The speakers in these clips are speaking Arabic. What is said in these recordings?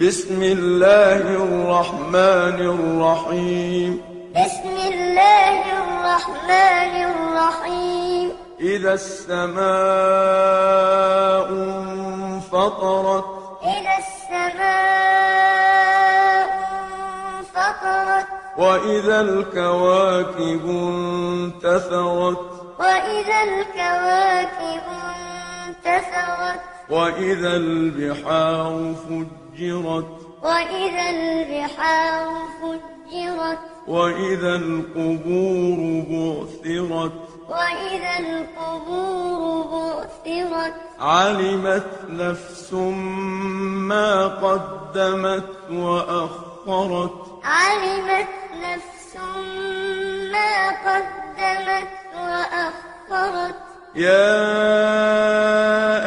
بسم الله الرحمن الرحيم بسم الله الرحمن الرحيم إذا السماء انفطرت إذا السماء انفطرت وإذا الكواكب انتثرت وإذا الكواكب انتثرت وإذا البحار فجرت وإذا البحار فجرت وإذا القبور بعثرت وإذا القبور بعثرت علمت نفس ما قدمت وأخرت علمت نفس ما قدمت وأخرت يا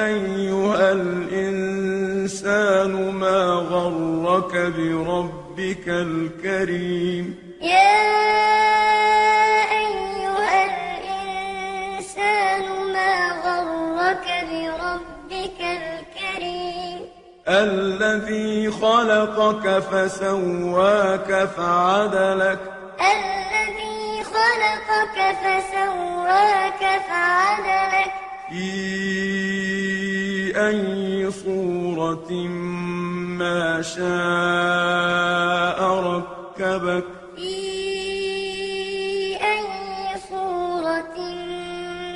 أيها الإنسان ما غرك بربك الكريم يا أيها الإنسان ما غرك بربك الكريم الذي خلقك فسواك فعدلك الذي خلقك فسواك فعدلك في أي صورة ما شاء ركبك في أي صورة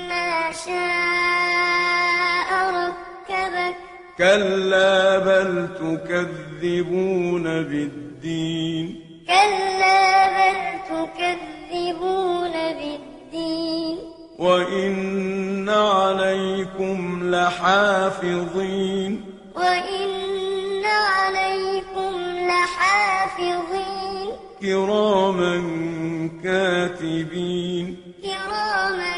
ما شاء ركبك كلا بل تكذبون بالدين كلا بل تكذبون بالدين وإن عليكم لحافظين وإن عليكم لحافظين كراما كاتبين كراما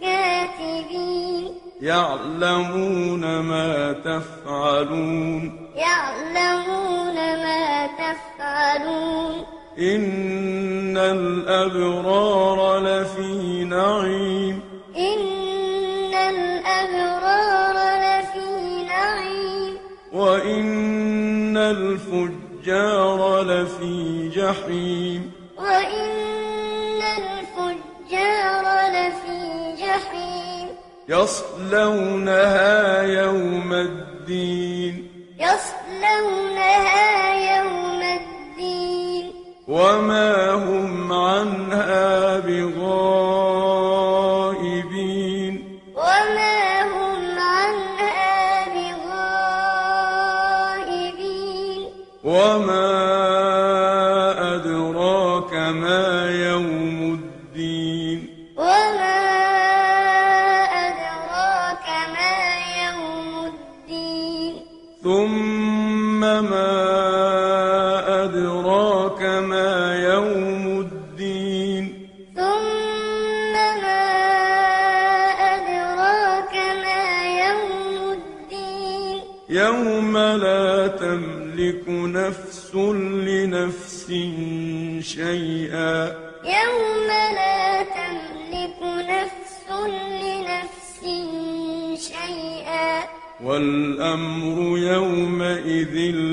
كاتبين يعلمون ما تفعلون يعلمون ما تفعلون إن الأبرار لفي نعيم إن الأبرار لفي نعيم وإن الفجار لفي جحيم وإن الفجار لفي جحيم يصلونها يوم الدين يصلونها يوم الدين وما هم عنها بغائبين وما هم عنها بغائبين وما أدراك ما يوم الدين وما أدراك ما يوم الدين ثم ما أدراك ما يوم الدين ثم ما أدراك ما يوم الدين يوم لا تملك نفس لنفس شيئا يوم لا تملك نفس لنفس شيئا والأمر يومئذ